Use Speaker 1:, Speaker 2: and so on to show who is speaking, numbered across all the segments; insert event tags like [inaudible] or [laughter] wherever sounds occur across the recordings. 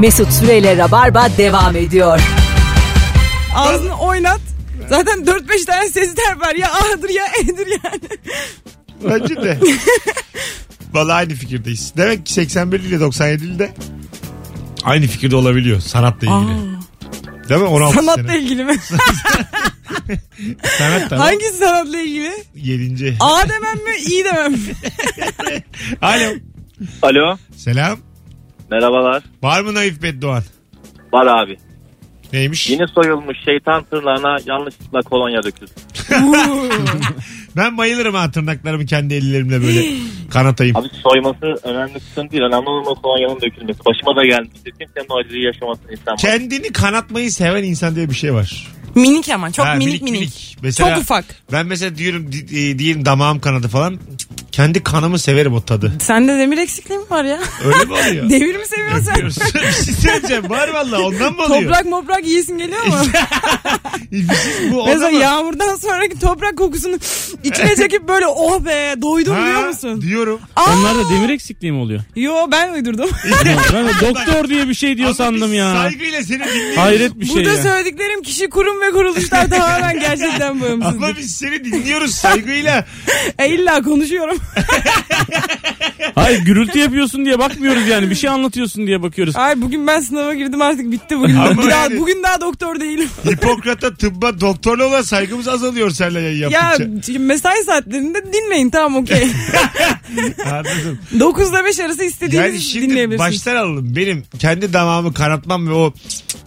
Speaker 1: Mesut Süreyle Rabarba devam ediyor.
Speaker 2: Ağzını oynat. Zaten 4-5 tane sesler var ya A'dır ya E'dir yani.
Speaker 3: Bence
Speaker 2: [laughs]
Speaker 3: de. Vallahi aynı fikirdeyiz. Demek ki 81 ile 97 ile de aynı fikirde olabiliyor sanatla ilgili. Değil mi? 16
Speaker 2: Sanatla
Speaker 3: sene.
Speaker 2: ilgili mi?
Speaker 3: Sanat da
Speaker 2: Hangi sanatla ilgili?
Speaker 3: 7.
Speaker 2: A demem mi İ demem mi?
Speaker 3: Alo.
Speaker 4: Alo.
Speaker 3: Selam.
Speaker 4: Merhabalar.
Speaker 3: Var mı naif bedduan?
Speaker 4: Var abi.
Speaker 3: Neymiş?
Speaker 4: Yeni soyulmuş şeytan tırnağına yanlışlıkla kolonya döküldü.
Speaker 3: Ben bayılırım ha tırnaklarımı kendi ellerimle
Speaker 2: [laughs]
Speaker 3: böyle kanatayım.
Speaker 4: Abi soyması önemli kısım değil. Önemli olan o kolonyanın dökülmesi. Başıma da gelmişti. Kimsenin o acıyı yaşamasını istemem.
Speaker 3: Kendini kanatmayı seven insan diye bir şey var.
Speaker 2: minik ama çok
Speaker 3: Ha,
Speaker 2: minik minik.
Speaker 3: Mesela
Speaker 2: çok ufak.
Speaker 3: Ben mesela diyorum di- e, diyelim damağım kanadı falan. Kendi kanımı severim o tadı.
Speaker 2: Sende demir eksikliği mi
Speaker 3: [laughs]
Speaker 2: var ya?
Speaker 3: Öyle mi
Speaker 2: [laughs]
Speaker 3: oluyor?
Speaker 2: Demir mi seviyorsun sen?
Speaker 3: Yapıyoruz. [laughs] bir şey söyleyeceğim. Var valla ondan mı oluyor?
Speaker 2: Toprak moprak
Speaker 3: [laughs]
Speaker 2: yiyesin geliyor mu?
Speaker 3: Biz- şey bu
Speaker 2: Mesela
Speaker 3: ona mı?
Speaker 2: yağmurdan sonraki toprak kokusunu içine çekip böyle oh be doydum
Speaker 3: Ha,
Speaker 2: diyor musun?
Speaker 5: [laughs]
Speaker 3: Diyorum.
Speaker 2: Aa,
Speaker 5: Onlarda demir eksikliği mi oluyor?
Speaker 2: Yo
Speaker 3: [laughs]
Speaker 2: ben uydurdum.
Speaker 5: ben de doktor diye bir şey diyor
Speaker 3: Ama
Speaker 5: sandım
Speaker 3: biz
Speaker 5: ya.
Speaker 3: Saygıyla seni
Speaker 5: [laughs]
Speaker 3: dinliyoruz.
Speaker 5: Hayret bir şey
Speaker 2: Burada
Speaker 5: ya.
Speaker 2: söylediklerim kişi kurum ve kuruluşlar
Speaker 3: [laughs]
Speaker 2: tamamen gerçekten
Speaker 3: Ama
Speaker 2: bağımsızdır.
Speaker 3: biz seni dinliyoruz saygıyla.
Speaker 2: E
Speaker 3: [laughs]
Speaker 2: illa konuşuyorum.
Speaker 5: Hayır gürültü yapıyorsun diye bakmıyoruz yani. Bir şey anlatıyorsun diye bakıyoruz.
Speaker 2: Ay bugün ben sınava girdim artık bitti bugün. [laughs]
Speaker 3: Ama
Speaker 2: Bir daha,
Speaker 3: yani-
Speaker 2: Bugün daha doktor değilim.
Speaker 3: Hipokrat'a, tıbba, doktorla olan saygımız azalıyor seninle yayın
Speaker 2: ya
Speaker 3: yaptıkça.
Speaker 2: şimdi mesai saatlerinde dinleyin
Speaker 3: [laughs]
Speaker 2: tamam okey.
Speaker 5: [laughs]
Speaker 3: Anladım.
Speaker 2: 9 ile 5 arası istediğiniz
Speaker 3: Yani şimdi
Speaker 2: dinleyebilirsiniz.
Speaker 3: baştan alalım. Benim kendi damağımı kanatmam ve o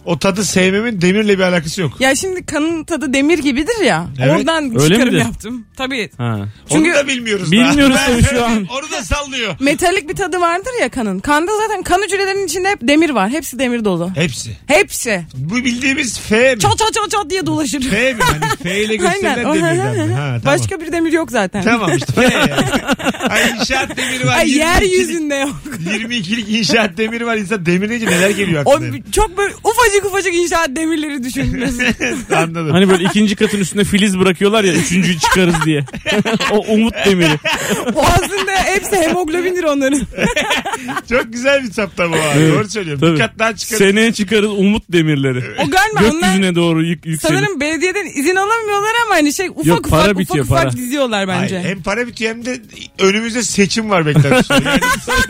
Speaker 3: o tadı sevmemin demirle bir alakası yok.
Speaker 2: Ya şimdi kanın tadı demir gibidir ya.
Speaker 3: Evet.
Speaker 2: Oradan
Speaker 5: Öyle
Speaker 2: çıkarım
Speaker 5: midir?
Speaker 2: yaptım. Tabii.
Speaker 5: Ha.
Speaker 2: Çünkü
Speaker 3: Onu da bilmiyoruz.
Speaker 5: Bilmiyoruz
Speaker 3: daha.
Speaker 5: tabii şu an.
Speaker 3: [laughs] Onu da sallıyor.
Speaker 2: metalik bir tadı vardır ya kanın. Kanda zaten kan hücrelerinin içinde hep demir var. Hepsi demir dolu.
Speaker 3: Hepsi.
Speaker 2: Hepsi.
Speaker 3: Bu bildiğimiz F mi?
Speaker 2: Çat çat çat çat diye dolaşır. [laughs]
Speaker 3: F mi? Hani F
Speaker 5: [laughs]
Speaker 3: ile gösterilen
Speaker 2: O-
Speaker 3: demirden mi? Ha, tamam.
Speaker 2: Başka bir demir yok zaten.
Speaker 3: Tamam işte F yani. Ay inşaat demiri var.
Speaker 2: Ay,
Speaker 3: 22'lik
Speaker 2: yeryüzünde yok.
Speaker 3: 22'lik inşaat demiri var. İnsan demir deyince neler geliyor
Speaker 2: O,
Speaker 3: aklına?
Speaker 2: çok böyle ufacık ufacık inşaat demirleri
Speaker 5: [laughs]
Speaker 2: düşünüyorsun.
Speaker 3: [laughs] Anladım.
Speaker 5: Hani böyle ikinci katın üstüne filiz bırakıyorlar ya üçüncüyü çıkarız diye. o umut demiri.
Speaker 2: o aslında hepsi hemoglobindir onların.
Speaker 3: Çok güzel bir saptama var.
Speaker 5: Evet.
Speaker 3: Doğru söylüyorum.
Speaker 5: Tabii.
Speaker 3: Bir kat daha çıkarız.
Speaker 5: Seneye çıkarız umut demirleri.
Speaker 2: O galiba onlar
Speaker 5: Gökyüzüne doğru yük, yükselir.
Speaker 2: sanırım belediyeden izin alamıyorlar ama hani şey ufak
Speaker 5: Yok, para
Speaker 2: ufak
Speaker 5: bitiyor,
Speaker 2: ufak
Speaker 5: para.
Speaker 2: ufak diziyorlar
Speaker 3: Ay,
Speaker 2: bence.
Speaker 3: hem para bitiyor hem de önümüzde seçim var
Speaker 5: [laughs]
Speaker 3: beklenmiş. Yani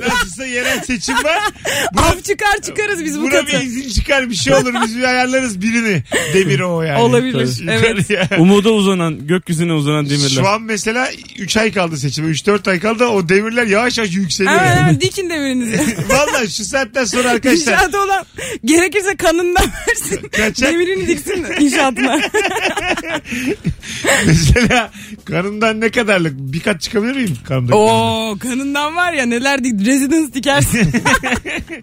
Speaker 3: nasılsa yerel seçim var.
Speaker 2: Af çıkar çıkarız biz bu
Speaker 3: Buna bir
Speaker 2: katı.
Speaker 3: izin çıkar bir şey olur. Biz bir ayarlarız birini. Demir o yani.
Speaker 2: Olabilir.
Speaker 3: Yukarı
Speaker 2: Evet.
Speaker 3: ya.
Speaker 5: Umuda uzanan, gökyüzüne uzanan demirler.
Speaker 3: Şu an mesela 3 ay kaldı seçime. 3-4 ay kaldı o demirler yavaş yavaş yükseliyor.
Speaker 2: Hemen
Speaker 3: yani.
Speaker 2: hemen dikin demirinizi.
Speaker 3: Vallahi şu saatten sonra [laughs] arkadaşlar
Speaker 2: İnşaatı olan gerekirse kanından
Speaker 3: [laughs]
Speaker 2: versin.
Speaker 3: Kaçak.
Speaker 2: Demirini diksin inşaatına.
Speaker 3: mesela kanından ne kadarlık bir kat çıkabilir miyim kanımdaki?
Speaker 2: Oo kanından var ya neler dik residence dikersin.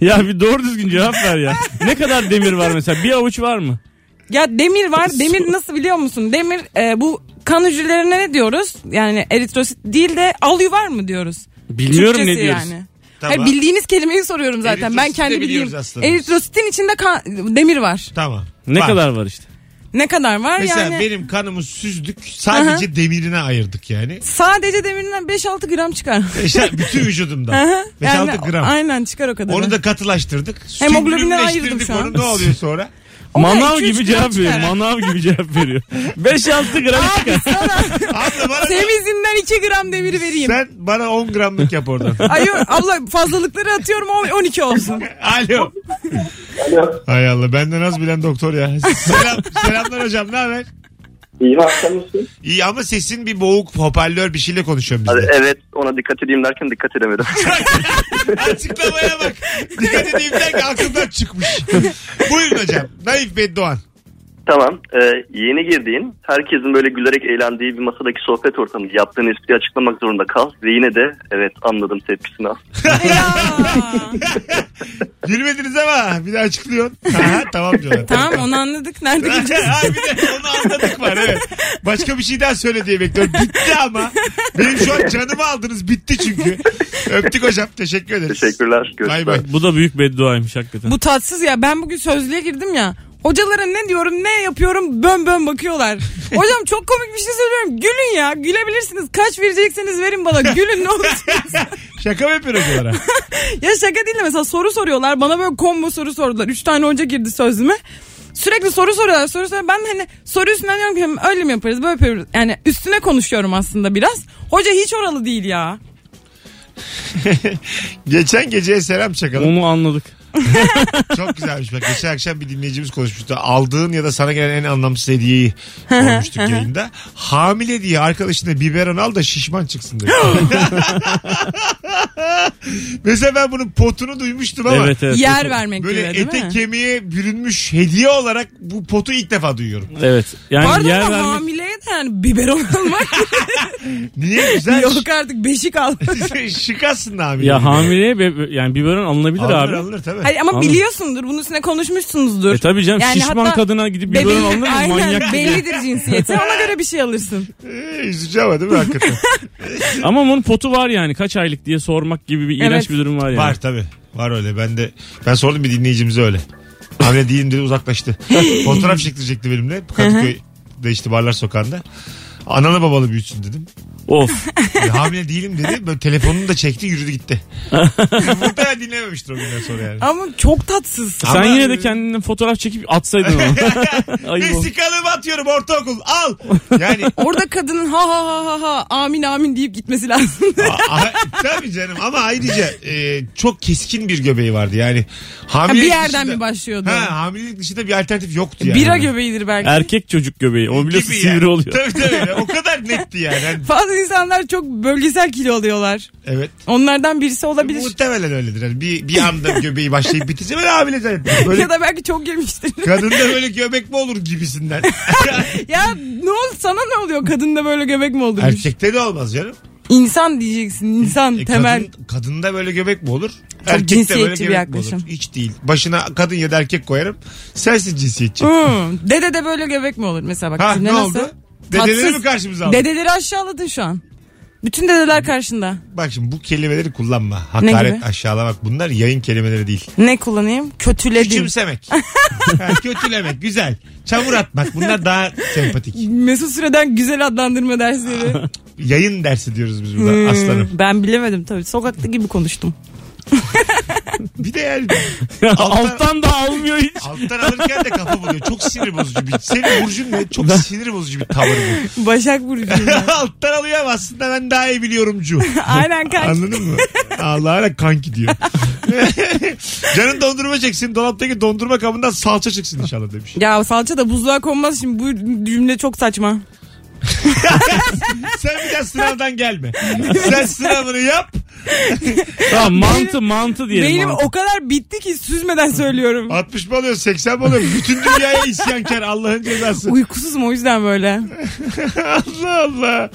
Speaker 5: Ya bir doğru düzgün cevap ver ya. ne kadar demir var mesela? Bir avuç var mı?
Speaker 2: [laughs] ya demir var. Demir nasıl biliyor musun? Demir e, bu kan hücrelerine ne diyoruz? Yani eritrosit değil de alyuvar var mı diyoruz?
Speaker 5: Bilmiyorum
Speaker 2: Türkçesi
Speaker 5: ne diyoruz.
Speaker 3: Tamam.
Speaker 2: Hayır, bildiğiniz kelimeyi soruyorum zaten. ben
Speaker 3: Eritrositi de
Speaker 2: kendi
Speaker 3: biliyoruz
Speaker 2: bildiğim.
Speaker 3: aslında biz.
Speaker 2: Eritrositin içinde kan, demir var.
Speaker 3: Tamam.
Speaker 5: Ne
Speaker 3: Var.
Speaker 5: kadar var işte?
Speaker 2: Ne kadar var
Speaker 3: Mesela
Speaker 2: yani?
Speaker 3: benim kanımı süzdük sadece demirine ayırdık yani.
Speaker 2: Sadece demirinden 5-6 gram çıkar.
Speaker 3: İşte bütün vücudumda.
Speaker 2: Aha,
Speaker 3: 5-6
Speaker 2: yani
Speaker 3: gram.
Speaker 2: Aynen çıkar o kadar.
Speaker 3: Onu da katılaştırdık.
Speaker 2: Hemoglobine
Speaker 3: Sümrümleştirdik
Speaker 2: ayırdım şu
Speaker 3: onu.
Speaker 2: an.
Speaker 3: Ne oluyor
Speaker 2: [laughs]
Speaker 3: sonra?
Speaker 5: Manav
Speaker 2: iki, üç
Speaker 5: gibi
Speaker 2: gram
Speaker 5: cevap veriyor.
Speaker 2: çıkar.
Speaker 5: Manav gibi
Speaker 2: [laughs]
Speaker 5: cevap veriyor. 5-6 gram çıkar.
Speaker 3: Abla bana,
Speaker 2: Semizinden 2 gram demiri vereyim.
Speaker 3: sen bana 10 gramlık yap oradan.
Speaker 2: Ay abla fazlalıkları atıyorum on- 12 olsun.
Speaker 3: Alo.
Speaker 6: Alo.
Speaker 3: Hay Allah benden az bilen doktor ya. [laughs] Selam, selamlar hocam ne haber?
Speaker 6: İyi akşamlısın.
Speaker 3: İyi ama sesin bir boğuk hoparlör bir şeyle konuşuyorum biz de.
Speaker 6: Evet ona dikkat edeyim derken dikkat edemedim. [laughs]
Speaker 3: [laughs] Açıklamaya bak. Dikkat edeyim der ki aklımdan çıkmış. Buyurun hocam. Naif Beddoğan.
Speaker 6: tamam. e, yeni girdiğin herkesin böyle gülerek eğlendiği bir masadaki sohbet ortamı yaptığın espriyi açıklamak zorunda kal. Ve yine de evet anladım tepkisini al.
Speaker 2: Ya.
Speaker 3: Gülmediniz ama bir de açıklıyorsun. Ha, tamam diyorlar. [laughs]
Speaker 2: tamam onu anladık. Nerede gideceğiz?
Speaker 3: Ha, bir de onu anladık var evet. Başka bir şey daha söyle diye bekliyorum. Bitti ama. Benim şu an canımı aldınız. Bitti çünkü. Öptük hocam. Teşekkür ederiz.
Speaker 6: Teşekkürler. Görüşürüz.
Speaker 3: Bay bay.
Speaker 5: Bu da büyük bedduaymış hakikaten.
Speaker 2: Bu tatsız ya. Ben bugün sözlüğe girdim ya. Hocalara ne diyorum ne yapıyorum bön bön bakıyorlar. Hocam çok komik bir şey söylüyorum. Gülün ya gülebilirsiniz. Kaç verecekseniz verin bana. Gülün ne olursunuz.
Speaker 3: Şaka mı yapıyor hocalara?
Speaker 2: ya şaka değil de mesela soru soruyorlar. Bana böyle combo soru sordular. Üç tane hoca girdi sözlüme. Sürekli soru soruyorlar soru soruyorlar. Ben hani soru üstünden diyorum ki "Hem öyle mi yaparız böyle mi yaparız. Yani üstüne konuşuyorum aslında biraz. Hoca hiç oralı değil ya.
Speaker 3: [laughs] Geçen geceye selam çakalım.
Speaker 5: Onu anladık.
Speaker 3: Çok güzelmiş bak. Geçen akşam bir dinleyicimiz konuşmuştu. Aldığın ya da sana gelen en anlamsız hediyeyi konuştuk yayında. Hamile diye arkadaşına biberon al da şişman çıksın dedi. Mesela ben bunun potunu duymuştum ama.
Speaker 5: Evet evet.
Speaker 2: Yer vermek
Speaker 3: Böyle
Speaker 2: gibi değil
Speaker 3: ete
Speaker 2: mi?
Speaker 3: kemiğe bürünmüş hediye olarak bu potu ilk defa duyuyorum.
Speaker 5: Evet. Yani
Speaker 2: Pardon
Speaker 5: yer
Speaker 2: da
Speaker 5: vermek.
Speaker 2: hamileye de yani biberon almak
Speaker 3: Niye
Speaker 5: [laughs]
Speaker 3: güzel?
Speaker 2: yok artık beşik al.
Speaker 3: Şık [laughs] aslında hamile.
Speaker 5: Ya hamileye be- yani biberon alınabilir
Speaker 3: Alınır,
Speaker 5: abi.
Speaker 3: alınır tabii.
Speaker 2: Hayır ama
Speaker 5: Anladım.
Speaker 2: biliyorsundur bunun üstüne konuşmuşsunuzdur.
Speaker 5: E tabii canım
Speaker 2: Yani
Speaker 5: şişman
Speaker 2: hatta
Speaker 5: kadına gidip biberon
Speaker 2: Bebeğin
Speaker 5: alınır mı?
Speaker 2: aynen
Speaker 5: Manyak şey. gibi.
Speaker 2: bellidir cinsiyeti ona göre bir şey alırsın.
Speaker 3: Ee, üzücü ama değil mi hakikaten?
Speaker 5: Ama bunun potu var yani kaç aylık diye sormak gibi bir iğrenç
Speaker 2: Evet.
Speaker 5: bir durum var yani.
Speaker 3: Var tabii. Var öyle. Ben de ben sordum bir dinleyicimize öyle. Hamile değilim dedi
Speaker 2: [laughs]
Speaker 3: uzaklaştı. Fotoğraf çektirecekti benimle. Kadıköy'de işte Barlar Sokağı'nda. Analı babalı büyütsün dedim. [laughs]
Speaker 5: Of.
Speaker 3: E, hamile değilim dedi. Böyle telefonunu da çekti yürüdü
Speaker 2: [laughs]
Speaker 3: gitti. Muhtemelen dinlememiştir o günden sonra yani.
Speaker 2: Ama çok tatsız.
Speaker 3: Ama-
Speaker 5: Sen yine de kendini fotoğraf çekip
Speaker 3: [laughs]
Speaker 5: atsaydın onu. Ayıp oldu.
Speaker 3: Vesikalığımı atıyorum ortaokul al. Yani
Speaker 2: Orada kadının ha ha ha ha ha amin amin deyip gitmesi lazım.
Speaker 3: a- a- tabii canım ama ayrıca e, çok keskin bir göbeği vardı yani.
Speaker 2: Ha,
Speaker 3: Hamile
Speaker 2: bir yerden mi başlıyordu?
Speaker 3: Ha, hamilelik dışında bir alternatif yoktu yani.
Speaker 2: Bira göbeğidir belki.
Speaker 5: Erkek çocuk göbeği. O biliyorsun
Speaker 3: Gibi
Speaker 5: sivri
Speaker 3: yani.
Speaker 5: oluyor.
Speaker 3: Tabii tabii. O kadar netti yani.
Speaker 2: [laughs]
Speaker 3: Hani-
Speaker 2: Bazı insanlar çok bölgesel kilo alıyorlar.
Speaker 3: evet.
Speaker 2: Onlardan birisi olabilir.
Speaker 3: Muhtemelen öyledir. Yani bir, bir anda göbeği başlayıp bitince ben hamile zannettim. Böyle
Speaker 2: [laughs] Ya da belki
Speaker 3: [laughs]
Speaker 2: çok yemiştir.
Speaker 3: kadında böyle göbek mi olur
Speaker 2: [laughs]
Speaker 3: gibisinden.
Speaker 2: ya ne oldu sana ne oluyor? Kadında böyle göbek mi oldu?
Speaker 3: Erkekte de olmaz canım.
Speaker 2: İnsan diyeceksin. insan
Speaker 3: E,
Speaker 2: temel.
Speaker 3: kadın, kadında böyle göbek mi olur? Erkekte böyle
Speaker 2: cinsiyetçi bir
Speaker 3: göbek mi
Speaker 2: yaklaşım.
Speaker 3: olur? Hiç değil. Başına kadın ya da erkek koyarım. Sensin cinsiyetçi.
Speaker 2: Hmm. Dede de böyle göbek mi olur mesela bak
Speaker 3: ha
Speaker 2: cümle
Speaker 3: ne
Speaker 2: nasıl?
Speaker 3: oldu? Dedeleri
Speaker 2: Tatsız.
Speaker 3: mi karşımıza aldın?
Speaker 2: Dedeleri aşağıladın şu an. Bütün dedeler karşında.
Speaker 3: Bak şimdi bu kelimeleri kullanma.
Speaker 2: Ne
Speaker 3: Hakaret,
Speaker 2: gibi?
Speaker 3: aşağılamak bunlar yayın kelimeleri değil.
Speaker 2: Ne kullanayım? Kötüledim.
Speaker 3: Küçümsemek. Ha, kötülemek güzel. Çamur atmak bunlar daha sempatik.
Speaker 2: Mesut Süre'den güzel adlandırma dersleri.
Speaker 3: Yayın dersi diyoruz biz burada
Speaker 2: Hmm,
Speaker 3: [laughs] aslanım.
Speaker 2: Ben bilemedim tabii. Sokakta gibi konuştum.
Speaker 3: Bir de yani
Speaker 5: [laughs] Alttan da
Speaker 3: [laughs]
Speaker 5: almıyor hiç.
Speaker 3: alttan alırken de kafa buluyor. Çok sinir bozucu bir. Senin burcun ne? Çok sinir bozucu bir tavır bu. [laughs]
Speaker 2: Başak Burcu'yum.
Speaker 3: alttan alıyor ama aslında ben daha iyi biliyorumcu.
Speaker 2: Aynen kanka.
Speaker 3: Anladın mı? Allah'a kanki diyor. [laughs] Canın dondurma çeksin. Dolaptaki dondurma kabından salça çıksın inşallah demiş.
Speaker 2: Ya salça da buzluğa konmaz şimdi bu cümle çok saçma.
Speaker 3: Sen bir daha sınavdan gelme. Sen sınavını yap.
Speaker 5: Tamam mantı mantı diyelim.
Speaker 2: Beynim
Speaker 5: mantı.
Speaker 2: o kadar bitti ki süzmeden söylüyorum.
Speaker 3: 60 mı alıyorsun? 80 mi alıyorsun? Bütün dünyaya isyankar Allah'ın cezası.
Speaker 2: Uykusuzum o yüzden böyle.
Speaker 3: Allah Allah.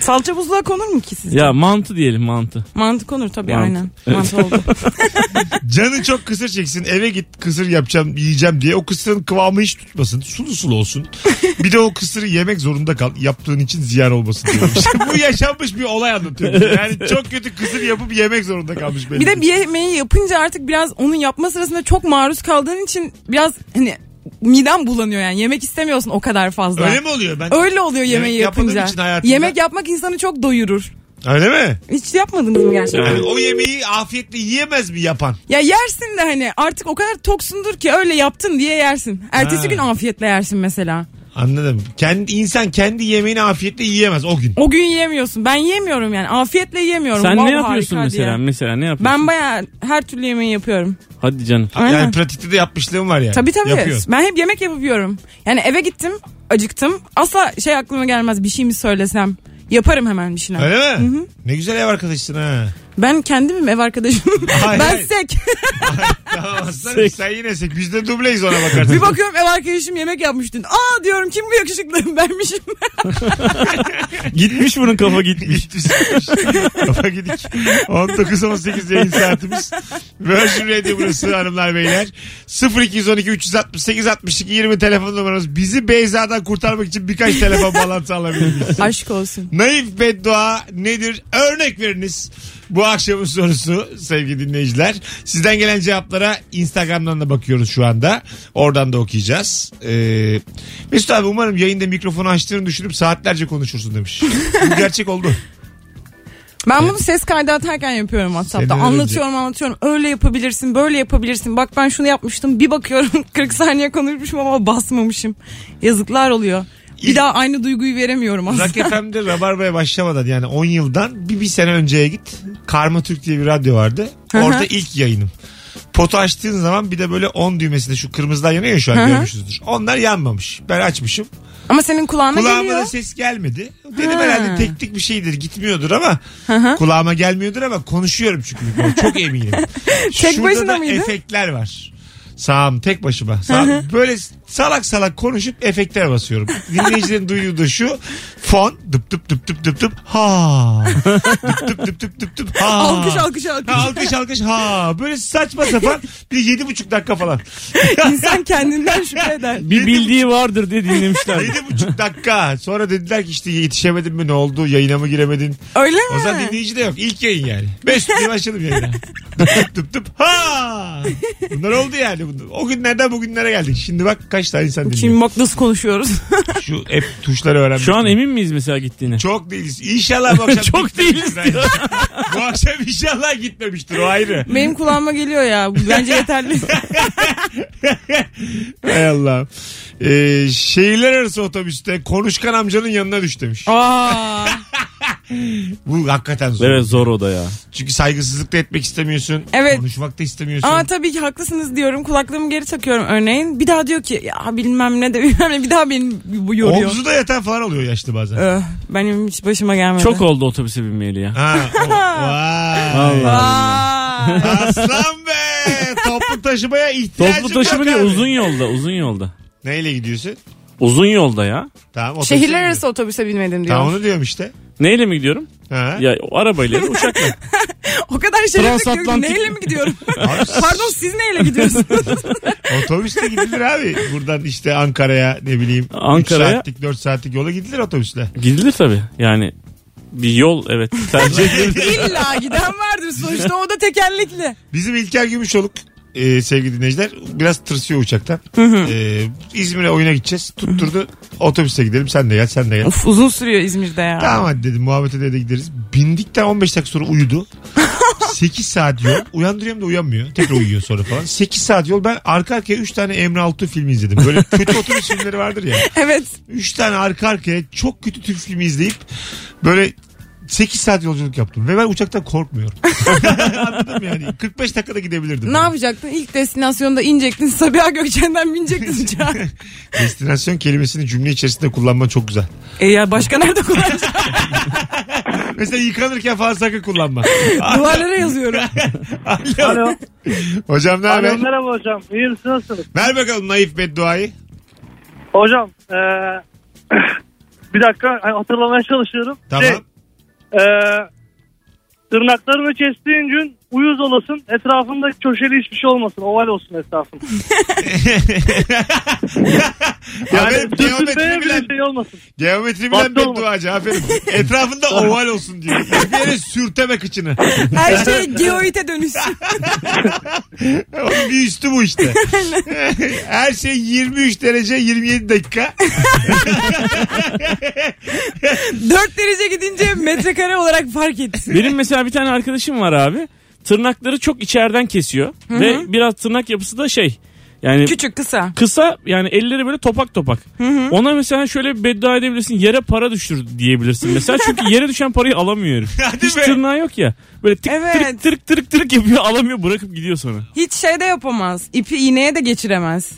Speaker 2: Salça buzluğa konur mu ki siz?
Speaker 5: Ya mantı diyelim mantı.
Speaker 2: Mantı konur tabii
Speaker 5: Mantı.
Speaker 2: aynen. Mantı oldu.
Speaker 3: [laughs] Canı çok kısır çeksin eve git kısır yapacağım yiyeceğim diye o kısırın kıvamı hiç tutmasın sulu sulu olsun. Bir de o kısırı yemek zorunda kal yaptığın için ziyan olmasın diyorum. İşte bu yaşanmış bir olay anlatıyor. bize. Yani çok kötü kısır yapıp yemek zorunda kalmış belli.
Speaker 2: Bir de
Speaker 3: ki.
Speaker 2: bir yemeği yapınca artık biraz onun yapma sırasında çok maruz kaldığın için biraz hani midem bulanıyor yani. Yemek istemiyorsun o kadar fazla.
Speaker 3: Öyle mi oluyor ben?
Speaker 2: Öyle oluyor yemeği
Speaker 3: Yemek yapmadığım
Speaker 2: yapınca.
Speaker 3: için hayatımda-
Speaker 2: Yemek yapmak insanı çok doyurur.
Speaker 3: Öyle mi?
Speaker 2: Hiç yapmadınız mı gerçekten?
Speaker 3: Yani o yemeği afiyetle yiyemez mi yapan?
Speaker 2: Ya yersin de hani artık o kadar toksundur ki öyle yaptın diye yersin. Ertesi
Speaker 3: Ha.
Speaker 2: gün afiyetle yersin mesela.
Speaker 3: Anladım. Kendi insan kendi yemeğini afiyetle yiyemez o gün.
Speaker 2: O gün yiyemiyorsun. Ben yiyemiyorum yani. Afiyetle yiyemiyorum.
Speaker 5: Sen
Speaker 2: Vav,
Speaker 5: ne yapıyorsun
Speaker 2: harika
Speaker 5: mesela?
Speaker 2: diye.
Speaker 5: Mesela ne yapıyorsun?
Speaker 2: Ben baya her türlü yemeği yapıyorum.
Speaker 5: Hadi canım.
Speaker 3: Yani
Speaker 2: Aynen.
Speaker 3: pratikte de yapmışlığım var yani.
Speaker 2: Tabii tabii.
Speaker 3: Yapıyorsun.
Speaker 2: Ben hep yemek yapıyorum. Yani eve gittim, acıktım. Asla şey aklıma gelmez bir şey mi söylesem. Yaparım hemen bir şeyler.
Speaker 3: Öyle mi? Ne güzel ev arkadaşısın ha.
Speaker 2: Ben kendimim ev arkadaşım.
Speaker 3: Hayır,
Speaker 2: ben
Speaker 3: hayır.
Speaker 2: sek.
Speaker 3: [laughs] Tamam aslanım, sen yine sek. Biz de dubleyiz ona bakarsın.
Speaker 2: bir bakıyorum ev arkadaşım yemek yapmış dün. Aa diyorum kim bu yakışıklı [laughs] benmişim.
Speaker 5: Gitmiş bunun kafa gitmiş.
Speaker 3: [laughs] Gitmiş. Kafa gidik. 19-18 yayın saatimiz. Virgin Radio burası hanımlar beyler. 0212 368 62 20 telefon numaramız. Bizi Beyza'dan kurtarmak için birkaç telefon bağlantısı alabilir miyiz?
Speaker 2: Aşk olsun.
Speaker 3: Naif beddua nedir? Örnek veriniz. Bu akşamın sorusu sevgili dinleyiciler. Sizden gelen cevaplara Instagram'dan da bakıyoruz şu anda. Oradan da okuyacağız. Ee, Mesut abi umarım yayında mikrofonu açtığını düşünüp saatlerce konuşursun demiş.
Speaker 2: [laughs]
Speaker 3: Bu gerçek oldu.
Speaker 2: Ben bunu ses kaydı atarken yapıyorum WhatsApp'ta.
Speaker 3: Senden
Speaker 2: Anlatıyorum anlatıyorum. Öyle yapabilirsin, böyle yapabilirsin. Bak ben şunu yapmıştım. Bir bakıyorum [laughs] 40 saniye konuşmuşum ama basmamışım. Yazıklar oluyor. Bir daha aynı duyguyu veremiyorum aslında.
Speaker 3: Rock FM'de Rabarba'ya başlamadan yani 10 yıldan bir, bir sene önceye git. Karma Türk diye bir radyo vardı.
Speaker 2: Hı hı.
Speaker 3: Orada ilk yayınım. Potu açtığın zaman bir de böyle 10 düğmesinde şu kırmızılar yanıyor ya şu an
Speaker 2: Hı hı.
Speaker 3: görmüşsünüzdür. Onlar yanmamış. Ben açmışım.
Speaker 2: Ama senin kulağına
Speaker 3: Kulağıma
Speaker 2: geliyor.
Speaker 3: da şey- ses gelmedi. Dedim herhalde teknik bir şeydir gitmiyordur ama kulağıma gelmiyordur ama konuşuyorum çünkü mikrofona. çok eminim.
Speaker 2: [laughs] Tek
Speaker 3: Şurada
Speaker 2: başına
Speaker 3: da
Speaker 2: mıydı?
Speaker 3: efektler var. Sağım tek başıma. Sağım. Böyle salak salak konuşup efektlere basıyorum. Dinleyicilerin duyduğu da şu. Fon dıp dıp dıp dıp dıp dıp ha. dıp dıp dıp dıp dıp dıp ha.
Speaker 2: Alkış alkış alkış.
Speaker 3: Ha, alkış alkış ha. Böyle saçma sapan bir yedi buçuk dakika falan.
Speaker 2: İnsan kendinden
Speaker 3: [laughs]
Speaker 2: şüphe eder.
Speaker 5: Bir bildiği vardır diye dinlemişler.
Speaker 3: Yedi buçuk dakika. Sonra dediler ki işte yetişemedin mi ne oldu? Yayına mı giremedin?
Speaker 2: Öyle
Speaker 3: O zaman
Speaker 2: mi?
Speaker 3: dinleyici de yok. İlk yayın yani. Beş diye başladım yayına. Tıp tıp tıp tıp. Ha! Bunlar oldu yani. Bunlar- O günlerden bugünlere geldik. Şimdi bak kaç tane insan dinliyor.
Speaker 2: Şimdi bak nasıl konuşuyoruz. [laughs]
Speaker 3: Şu hep tuşları öğrenmek.
Speaker 5: Şu an emin miyiz mesela gittiğine?
Speaker 3: çok değiliz. İnşallah bu akşam
Speaker 5: [laughs] Çok
Speaker 3: gitmemiştir. [laughs] bu akşam inşallah gitmemiştir o ayrı.
Speaker 2: Benim kulağıma geliyor ya. Bu
Speaker 3: [laughs]
Speaker 2: Bence yeterli.
Speaker 3: Hay Allah. Ee, şehirler arası otobüste konuşkan amcanın yanına düş demiş.
Speaker 2: Aa.
Speaker 3: Bu hakikaten zor.
Speaker 5: Evet zor o da ya.
Speaker 3: Çünkü saygısızlık da etmek istemiyorsun.
Speaker 2: Evet.
Speaker 3: Konuşmak da istemiyorsun.
Speaker 2: Ama tabii ki haklısınız diyorum. Kulaklığımı geri takıyorum örneğin. Bir daha diyor ki ya bilmem ne de bilmem ne. Bir daha beni bu yoruyor.
Speaker 3: Omzu da yatan falan oluyor yaşlı bazen.
Speaker 2: Öh, benim hiç başıma gelmedi.
Speaker 5: Çok oldu otobüse binmeyeli ya.
Speaker 3: Ha,
Speaker 2: [laughs]
Speaker 3: o- vay.
Speaker 5: Allah.
Speaker 3: [laughs]
Speaker 2: Vay.
Speaker 3: Aslan be.
Speaker 2: [laughs]
Speaker 3: Toplu taşımaya ihtiyacım
Speaker 5: Toplu taşıma
Speaker 3: yok
Speaker 5: değil
Speaker 3: abi.
Speaker 5: uzun yolda uzun yolda.
Speaker 3: Neyle gidiyorsun?
Speaker 5: Uzun yolda ya.
Speaker 3: Tamam, otobüse
Speaker 2: Şehirler
Speaker 3: gidiyorum.
Speaker 2: arası otobüse binmedim diyor.
Speaker 3: Tamam onu diyorum işte.
Speaker 5: Neyle mi gidiyorum?
Speaker 3: Ha.
Speaker 5: Ya o arabayla ya da uçakla.
Speaker 2: O kadar şerefli ki
Speaker 5: Transatlantik.
Speaker 2: neyle mi gidiyorum? [laughs]
Speaker 3: Abi,
Speaker 2: Pardon siz neyle gidiyorsunuz?
Speaker 3: otobüsle gidilir abi. Buradan işte Ankara'ya ne bileyim.
Speaker 5: Ankara'ya?
Speaker 3: 3 saatlik 4 saatlik yola gidilir otobüsle.
Speaker 5: Gidilir tabii. Yani bir yol evet tercih
Speaker 3: [laughs]
Speaker 5: edilir.
Speaker 2: İlla giden vardır sonuçta o da tekerlekli.
Speaker 3: Bizim İlker Gümüşoluk e, sevgili dinleyiciler biraz tırsıyor uçaktan. E, İzmir'e oyuna gideceğiz. Tutturdu otobüse gidelim sen de gel sen de gel.
Speaker 2: Of uzun sürüyor İzmir'de ya.
Speaker 3: Tamam hadi dedim muhabbet ede de gideriz. Bindikten 15 dakika sonra
Speaker 2: [laughs]
Speaker 3: uyudu. 8 saat yol. Uyandırıyorum da uyanmıyor. Tekrar uyuyor sonra falan. 8 saat yol. Ben arka arkaya 3 tane Emre Altuğ filmi izledim. Böyle
Speaker 2: [laughs]
Speaker 3: kötü otobüs filmleri vardır ya.
Speaker 2: Evet.
Speaker 3: 3 tane arka arkaya çok kötü Türk filmi izleyip böyle 8 saat yolculuk yaptım. Ve ben uçaktan korkmuyorum. [laughs] Anladım yani. 45 dakikada gidebilirdim.
Speaker 2: Ne yapacaktın? İlk destinasyonda inecektin. Sabiha Gökçen'den binecektin uçağa.
Speaker 3: Destinasyon kelimesini cümle içerisinde kullanman çok güzel.
Speaker 2: e ya başka nerede kullanacaksın?
Speaker 3: Mesela yıkanırken falan sakın kullanma.
Speaker 2: Duvarlara yazıyorum.
Speaker 3: [laughs] Alo. Hocam ne haber?
Speaker 7: merhaba hocam. İyi misiniz? Nasılsınız?
Speaker 3: Ver bakalım naif bedduayı.
Speaker 7: Hocam eee, [coughs] bir dakika hani hatırlamaya çalışıyorum.
Speaker 3: Tamam.
Speaker 7: Şey, eee, tırnaklarını kestiğin gün uyuz olasın. Etrafında köşeli hiçbir şey olmasın. Oval olsun etrafın.
Speaker 3: [laughs] Aferin, geometri
Speaker 7: sürtünmeye
Speaker 3: bilen,
Speaker 7: bile şey olmasın.
Speaker 3: geometri bilen
Speaker 7: Baktı
Speaker 3: bir
Speaker 7: olmadı.
Speaker 3: duacı aferin. Etrafında oval olsun diyor. Bir yere sürteme kıçını.
Speaker 2: Her şey geoite dönüşsün.
Speaker 3: Onun bir üstü bu [laughs] işte. Her şey 23 derece 27 dakika.
Speaker 2: 4 derece gidince metrekare olarak fark etsin.
Speaker 5: Benim mesela bir tane arkadaşım var abi. Tırnakları çok içeriden kesiyor. Ve biraz tırnak yapısı da şey. Yani
Speaker 2: Küçük kısa.
Speaker 5: kısa yani elleri böyle topak topak. Ona mesela şöyle bir beddua edebilirsin. Yere para düşür diyebilirsin mesela.
Speaker 2: [laughs]
Speaker 5: Çünkü yere düşen parayı alamıyor herif.
Speaker 3: Hadi
Speaker 5: Hiç
Speaker 3: be.
Speaker 5: tırnağı yok ya. Böyle tık
Speaker 2: Evet.
Speaker 5: tırık tırık tırık tırık yapıyor alamıyor bırakıp gidiyor sonra.
Speaker 2: Hiç şey de yapamaz. İpi iğneye de geçiremez.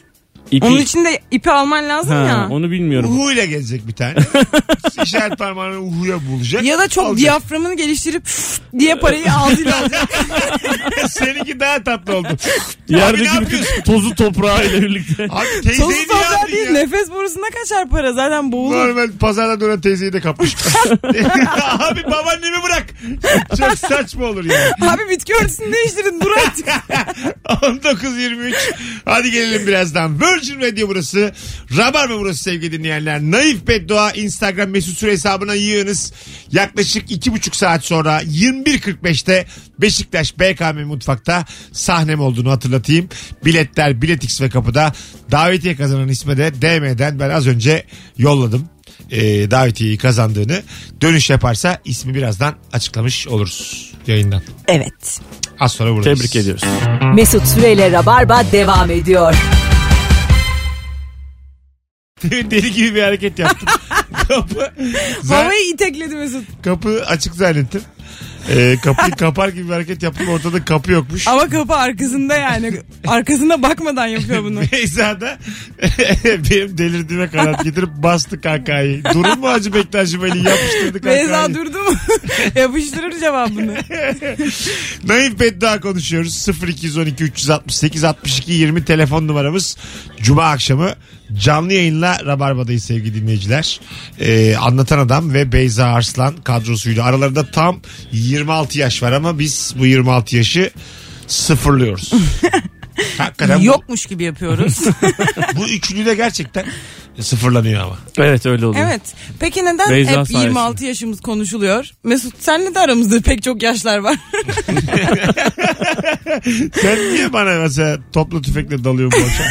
Speaker 5: İpi-
Speaker 2: Onun için de ipi alman lazım
Speaker 5: şey- Ha,
Speaker 2: ya.
Speaker 5: Onu bilmiyorum.
Speaker 3: Uhu ile gelecek bir tane. İşaret parmağını uhuya bulacak.
Speaker 2: Ya da çok
Speaker 3: Alacak.
Speaker 2: diyaframını geliştirip [laughs] diye parayı ağzıyla
Speaker 5: [laughs]
Speaker 2: alacak.
Speaker 3: [laughs] Seninki daha tatlı oldu. Abi ne
Speaker 5: Yerdeki
Speaker 3: yapıyorsun?
Speaker 5: bütün [laughs] tozu toprağı ile birlikte.
Speaker 3: Abi
Speaker 2: Tozu
Speaker 3: teyzeyi niye
Speaker 2: toprağı değil
Speaker 3: aldın ya?
Speaker 2: nefes borusuna kaçar para zaten boğulur.
Speaker 3: Normal pazarda dönen teyzeyi de kapmış. [laughs] Abi babaannemi bırak. Çok saçma olur yani.
Speaker 2: Abi
Speaker 3: [laughs]
Speaker 2: [laughs] bitki örtüsünü değiştirin dur artık.
Speaker 3: 19.23. Hadi gelelim birazdan. Virgin Virgin Radio burası. Rabarba burası sevgili dinleyenler. Naif Beddua Instagram mesut süre hesabına yığınız. Yaklaşık iki buçuk saat sonra 21.45'te Beşiktaş BKM Mutfak'ta sahnem olduğunu hatırlatayım. Biletler Biletix ve kapıda. Davetiye kazanan isme de DM'den ben az önce yolladım. E, davetiyeyi kazandığını dönüş yaparsa ismi birazdan açıklamış oluruz yayından.
Speaker 1: Evet.
Speaker 3: Az sonra buradayız.
Speaker 5: [laughs] Tebrik ediyoruz.
Speaker 1: Mesut Süreyle Rabarba devam ediyor.
Speaker 3: [laughs] Deli gibi bir hareket
Speaker 2: [laughs]
Speaker 3: yaptım. kapı, zan-
Speaker 2: Havayı itekledi Mesut.
Speaker 3: kapı açık zannettim. Ee,
Speaker 2: [laughs]
Speaker 3: kapıyı kapar gibi bir hareket yaptım. Ortada kapı yokmuş.
Speaker 2: Ama kapı arkasında yani. arkasında bakmadan yapıyor
Speaker 5: [laughs]
Speaker 2: bunu.
Speaker 3: Beyza da [laughs] benim delirdiğime kanat getirip bastı kankayı. Durum mu Hacı Bektaş'ım Ali yapıştırdı kankayı.
Speaker 2: Beyza durdu mu? [laughs] Yapıştırır cevabını.
Speaker 3: Naif beddua konuşuyoruz. 0212 368 62 20 telefon numaramız. Cuma akşamı canlı yayınla Rabarba'dayız sevgili dinleyiciler. Ee, Anlatan Adam ve Beyza Arslan kadrosuyla. Aralarında tam 26 yaş var ama biz bu 26 yaşı sıfırlıyoruz. Hakikaten Yok.
Speaker 2: Yokmuş gibi yapıyoruz.
Speaker 3: Bu, bu üçlü de gerçekten sıfırlanıyor ama.
Speaker 5: Evet öyle oluyor.
Speaker 2: [laughs] evet. Peki neden
Speaker 5: Beyza
Speaker 2: hep
Speaker 5: sayesinde.
Speaker 2: 26 yaşımız konuşuluyor? Mesut senle de aramızda pek çok yaşlar var.
Speaker 3: Sen niye bana mesela toplu tüfekle dalıyorsun bu akşam?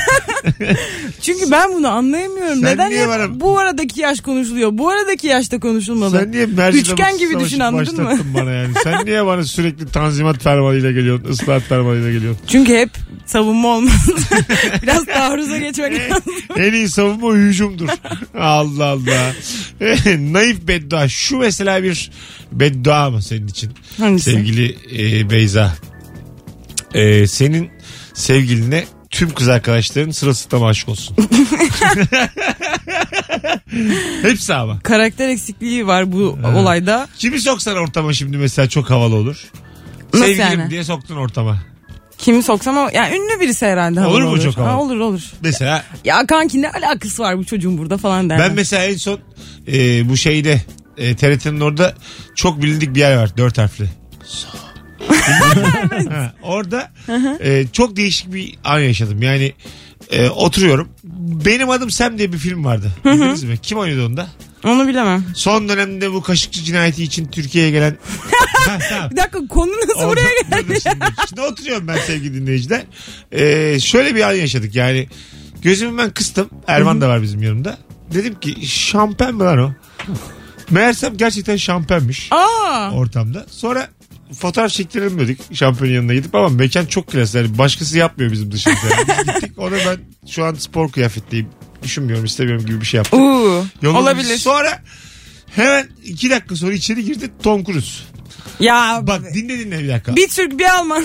Speaker 2: Çünkü ben bunu anlayamıyorum.
Speaker 3: Sen
Speaker 2: neden
Speaker 3: niye
Speaker 2: hep
Speaker 3: varım?
Speaker 2: bu aradaki yaş konuşuluyor? Bu aradaki yaşta konuşulmalı.
Speaker 3: Sen niye mercimek
Speaker 2: Üçgen gibi düşün, anladın mı?
Speaker 3: bana yani. Sen niye bana sürekli tanzimat fermanıyla geliyorsun, ıslahat fermanıyla geliyorsun?
Speaker 2: Çünkü hep savunma olmaz.
Speaker 3: [laughs]
Speaker 2: Biraz taarruza geçmek lazım.
Speaker 3: en iyi savunma hücumdur. [laughs] Allah Allah. [laughs] Naif beddua. Şu mesela bir beddua mı senin için?
Speaker 2: Hangisi?
Speaker 3: Sevgili e, Beyza. E, senin sevgiline tüm kız arkadaşların sırasıyla aşık olsun. [laughs] Hepsi ama.
Speaker 2: Karakter eksikliği var bu olayda.
Speaker 3: Kimi soksan ortama şimdi mesela çok havalı olur.
Speaker 2: Nasıl
Speaker 3: Sevgilim
Speaker 2: yani?
Speaker 3: diye soktun ortama.
Speaker 2: Kimi soksam ama yani ünlü birisi herhalde.
Speaker 3: Olur
Speaker 2: havalı
Speaker 3: mu çok havalı?
Speaker 2: Ha, olur olur.
Speaker 3: Mesela
Speaker 2: Ya kanki ne alakası var bu çocuğun burada falan derler.
Speaker 3: ben mesela en son e, bu şeyde e, TRT'nin orada çok bilindik bir yer var. Dört harfli. Ha, orada e, çok değişik bir an yaşadım. Yani e, oturuyorum. Benim adım Sem diye bir film vardı. Bildiniz mi? Kim oynadı onda?
Speaker 2: Onu bilemem.
Speaker 3: Son dönemde bu kaşıkçı cinayeti için Türkiye'ye gelen... ha, tamam.
Speaker 2: Bir dakika konu nasıl
Speaker 3: Orada- [laughs]
Speaker 2: buraya geldi?
Speaker 3: Dur, dur,
Speaker 2: [laughs]
Speaker 3: şimdi, şimdi oturuyorum ben sevgili dinleyiciler. Ee, şöyle bir an yaşadık yani. Gözümü ben kıstım. Erman da var bizim yanımda. Dedim ki şampen mi lan o? Meğersem gerçekten şampenmiş
Speaker 2: Aa,
Speaker 3: ortamda. Sonra fotoğraf çektirelim dedik şampiyonun yanına gidip ama mekan çok klas. Yani başkası yapmıyor bizim dışımızda. Yani Biz gittik ona ben şu an spor kıyafetliyim. Düşünmüyorum istemiyorum gibi bir şey yaptım.
Speaker 2: uu,
Speaker 3: Yolumuz-
Speaker 2: olabilir.
Speaker 3: Sonra hemen iki dakika sonra içeri girdi Tom Cruise.
Speaker 2: Ya
Speaker 3: Bak dinle dinle bir dakika.
Speaker 2: bir Türk bir
Speaker 3: [laughs]
Speaker 2: Alman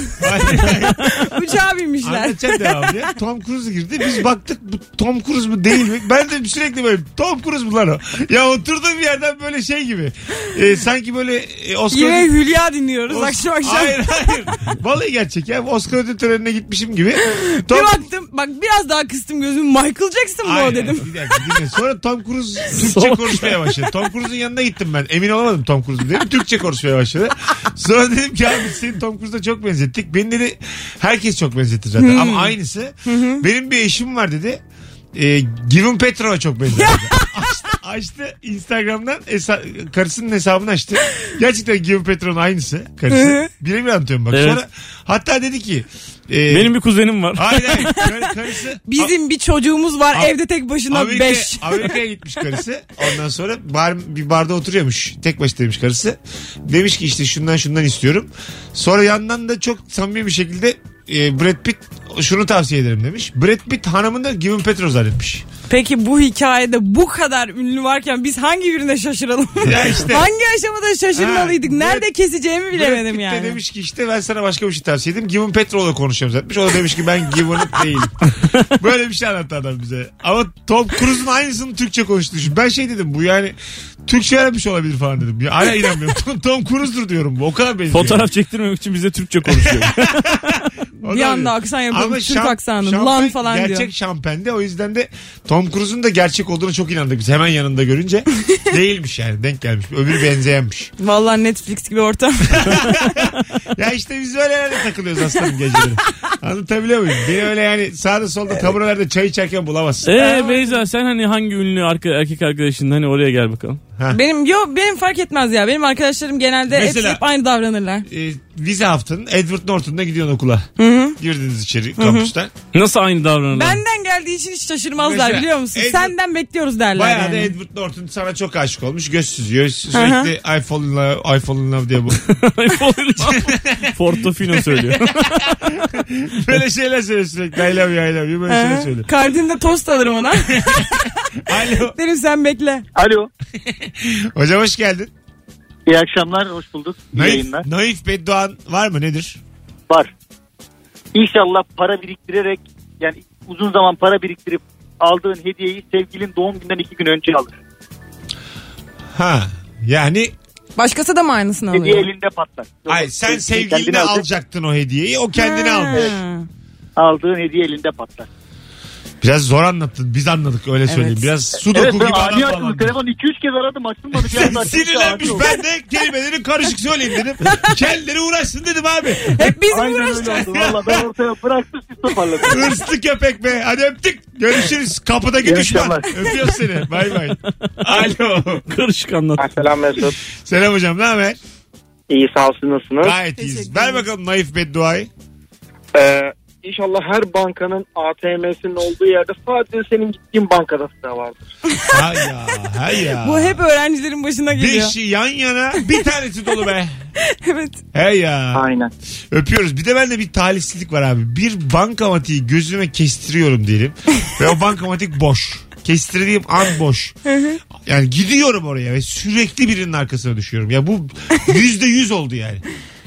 Speaker 2: uçağa binmişler.
Speaker 3: Anlatacağım devamı ya. Tom Cruise girdi. Biz baktık bu Tom Cruise mu değil mi? Ben de sürekli böyle Tom Cruise mu lan o? Ya oturduğum yerden böyle şey gibi. Ee, sanki böyle e, Oscar...
Speaker 2: Yine Hülya dinliyoruz
Speaker 3: Os-
Speaker 2: akşam akşam.
Speaker 3: Hayır hayır. Vallahi gerçek ya. Oscar ödül törenine gitmişim gibi. Tom...
Speaker 2: Bir baktım bak biraz daha kıstım gözümü Michael Jackson bu o
Speaker 3: Aynen. [laughs]
Speaker 2: dedim.
Speaker 3: Bir dakika, dinle. Sonra Tom Cruise Türkçe konuşmaya başladı. Tom Cruise'un yanına gittim ben. Emin olamadım Tom Cruise'un dedim. Türkçe konuşmaya başladı. Sonra dedim ki abi seni Tom Cruise'da çok benzettik. Beni dedi herkes çok benzetti zaten. Ama aynısı. Benim bir eşim var dedi. E, Given Petrova çok benzetti. açtı, açtı Instagram'dan hesa- karısının hesabını açtı. Gerçekten Given Petrova'nın aynısı karısı. Birebir anlatıyorum bak.
Speaker 5: Evet.
Speaker 3: Sonra hatta dedi ki e,
Speaker 5: Benim bir kuzenim var.
Speaker 3: Hayır hayır. Kar- Karısı
Speaker 2: Bizim bir çocuğumuz var
Speaker 3: A-
Speaker 2: evde tek başına
Speaker 3: Amerika,
Speaker 2: 5.
Speaker 3: Amerika'ya gitmiş karısı. Ondan sonra bar, bir barda oturuyormuş. Tek başınaymış karısı. Demiş ki işte şundan şundan istiyorum. Sonra yandan da çok samimi bir şekilde e, Brad Pitt şunu tavsiye ederim demiş. Brad Pitt hanımını da Given Petro zannetmiş.
Speaker 2: Peki bu hikayede bu kadar ünlü varken biz hangi birine şaşıralım?
Speaker 3: Ya işte.
Speaker 2: [laughs] hangi aşamada şaşırmalıydık?
Speaker 3: Ha,
Speaker 2: Nerede keseceğimi
Speaker 3: Brad
Speaker 2: bilemedim
Speaker 3: Pitt de
Speaker 2: yani.
Speaker 3: demiş ki işte ben sana başka bir şey tavsiye edeyim. Given Petrol'la konuşuyorum zannetmiş. O da demiş ki ben Given it değilim.
Speaker 2: [laughs]
Speaker 3: Böyle bir şey anlattı adam bize. Ama Tom Cruise'un aynısını Türkçe konuştu. Şimdi Ben şey dedim bu yani Türkçe yapmış olabilir falan dedim. Ya hala
Speaker 2: [laughs]
Speaker 3: inanmıyorum. Tom, Tom Cruise'dur diyorum bu. O kadar benziyor.
Speaker 5: Fotoğraf çektirmemek için bize
Speaker 2: [laughs]
Speaker 5: Türkçe konuşuyor.
Speaker 3: O da
Speaker 2: Bir
Speaker 3: öyle.
Speaker 2: anda aksan yapalım
Speaker 3: Ama
Speaker 2: Türk
Speaker 3: şam-
Speaker 2: aksanı
Speaker 3: şampen-
Speaker 2: lan falan
Speaker 3: gerçek
Speaker 2: diyor.
Speaker 3: şampende o yüzden de Tom Cruise'un da gerçek olduğunu çok inandık biz hemen yanında
Speaker 2: [laughs]
Speaker 3: görünce. Değilmiş yani denk gelmiş. Öbürü benzeyenmiş. [laughs]
Speaker 2: Vallahi Netflix gibi ortam.
Speaker 3: Ya işte biz böyle herhalde takılıyoruz aslanım geceleri. Anlatabiliyor muyum? Beni öyle yani sağda solda taburelerde çay içerken bulamazsın.
Speaker 5: Ee Beyza sen hani hangi ünlü arka, erkek arkadaşın hani oraya gel bakalım.
Speaker 2: Benim yo benim fark etmez ya. Benim arkadaşlarım genelde hepsi
Speaker 3: Mesela-
Speaker 2: hep aynı davranırlar.
Speaker 3: Ee, vize haftanın Edward Norton'da gidiyorsun okula. Girdiniz içeri kampüsten.
Speaker 5: Nasıl aynı davranırlar? [laughs]
Speaker 2: Benden geldiği için hiç şaşırmazlar
Speaker 3: Mesela
Speaker 2: biliyor musun?
Speaker 3: Edward-
Speaker 2: Senden bekliyoruz derler
Speaker 3: Bayağı
Speaker 2: yani.
Speaker 3: da Edward Norton sana çok aşık olmuş. Göz süzüyor. Sürekli I fall in love, I fall in love diye bu.
Speaker 2: [laughs]
Speaker 5: Portofino söylüyor.
Speaker 3: Böyle şeyler söylüyor sürekli. I love you, I love you. Böyle şeyler söylüyor.
Speaker 2: Kardin'de tost alırım ona.
Speaker 3: Alo.
Speaker 2: Derim sen bekle.
Speaker 4: Alo.
Speaker 3: Hocam hoş geldin.
Speaker 4: İyi akşamlar. Hoş bulduk. İyi
Speaker 3: Naif,
Speaker 4: yayınlar.
Speaker 3: naif bedduan var mı nedir?
Speaker 4: Var. İnşallah para biriktirerek yani uzun zaman para biriktirip aldığın hediyeyi sevgilin doğum günden iki gün önce alır.
Speaker 3: Ha. Yani
Speaker 2: Başkası da mı aynısını
Speaker 4: Hediye
Speaker 2: alıyor?
Speaker 4: elinde patlar.
Speaker 3: ay, sen
Speaker 4: Sevgilin
Speaker 3: sevgiline
Speaker 4: şey, kendini alacak,
Speaker 3: alacaktın o hediyeyi. O kendine
Speaker 2: Ha.
Speaker 3: almış.
Speaker 4: Aldığın hediye elinde patlar.
Speaker 3: Biraz zor anlattın. Biz anladık öyle söyleyeyim.
Speaker 2: Evet.
Speaker 3: Biraz sudoku
Speaker 4: Evet ben
Speaker 3: gibi
Speaker 4: ani
Speaker 3: adam
Speaker 4: açıldı.
Speaker 3: bağlandı.
Speaker 4: Telefon 2-3 kez aradım açılmadı. Bir
Speaker 3: [laughs]
Speaker 4: anda açıldı,
Speaker 3: Sinirlenmiş
Speaker 4: acil oldu.
Speaker 3: ben de kelimeleri karışık söyleyeyim dedim. Kendileri uğraşsın dedim abi.
Speaker 2: Hep biz mi
Speaker 4: Aynen öyle
Speaker 2: uğraştık?
Speaker 4: oldu. Valla ben ortaya bıraktım siz toparladınız.
Speaker 3: Hırslı köpek be. Hadi öptük. Görüşürüz. Kapıdaki
Speaker 4: İyi
Speaker 3: düşman.
Speaker 4: akşamlar.
Speaker 3: Öpüyoruz seni. Bay bay. Alo.
Speaker 5: Karışık anlat.
Speaker 8: [laughs] Selam Mesut.
Speaker 3: Selam hocam. Ne haber?
Speaker 8: İyi sağ olsun nasılsınız?
Speaker 3: Gayet iyiyiz. Ver bakalım naif bedduayı.
Speaker 8: Ee, inşallah her bankanın ATM'sinin olduğu yerde sadece senin gittiğin bankada sıra vardır.
Speaker 3: Hay ya. Hay ya.
Speaker 2: Bu hep öğrencilerin başına geliyor.
Speaker 3: Beşi yan yana bir tanesi dolu be.
Speaker 2: evet.
Speaker 3: Hey ya.
Speaker 8: Aynen.
Speaker 3: Öpüyoruz. Bir de bende bir talihsizlik var abi. Bir bankamatiği gözüme kestiriyorum diyelim. ve o bankamatik boş. Kestirdiğim an boş. Yani gidiyorum oraya ve sürekli birinin arkasına düşüyorum. Ya bu yüzde yüz oldu yani.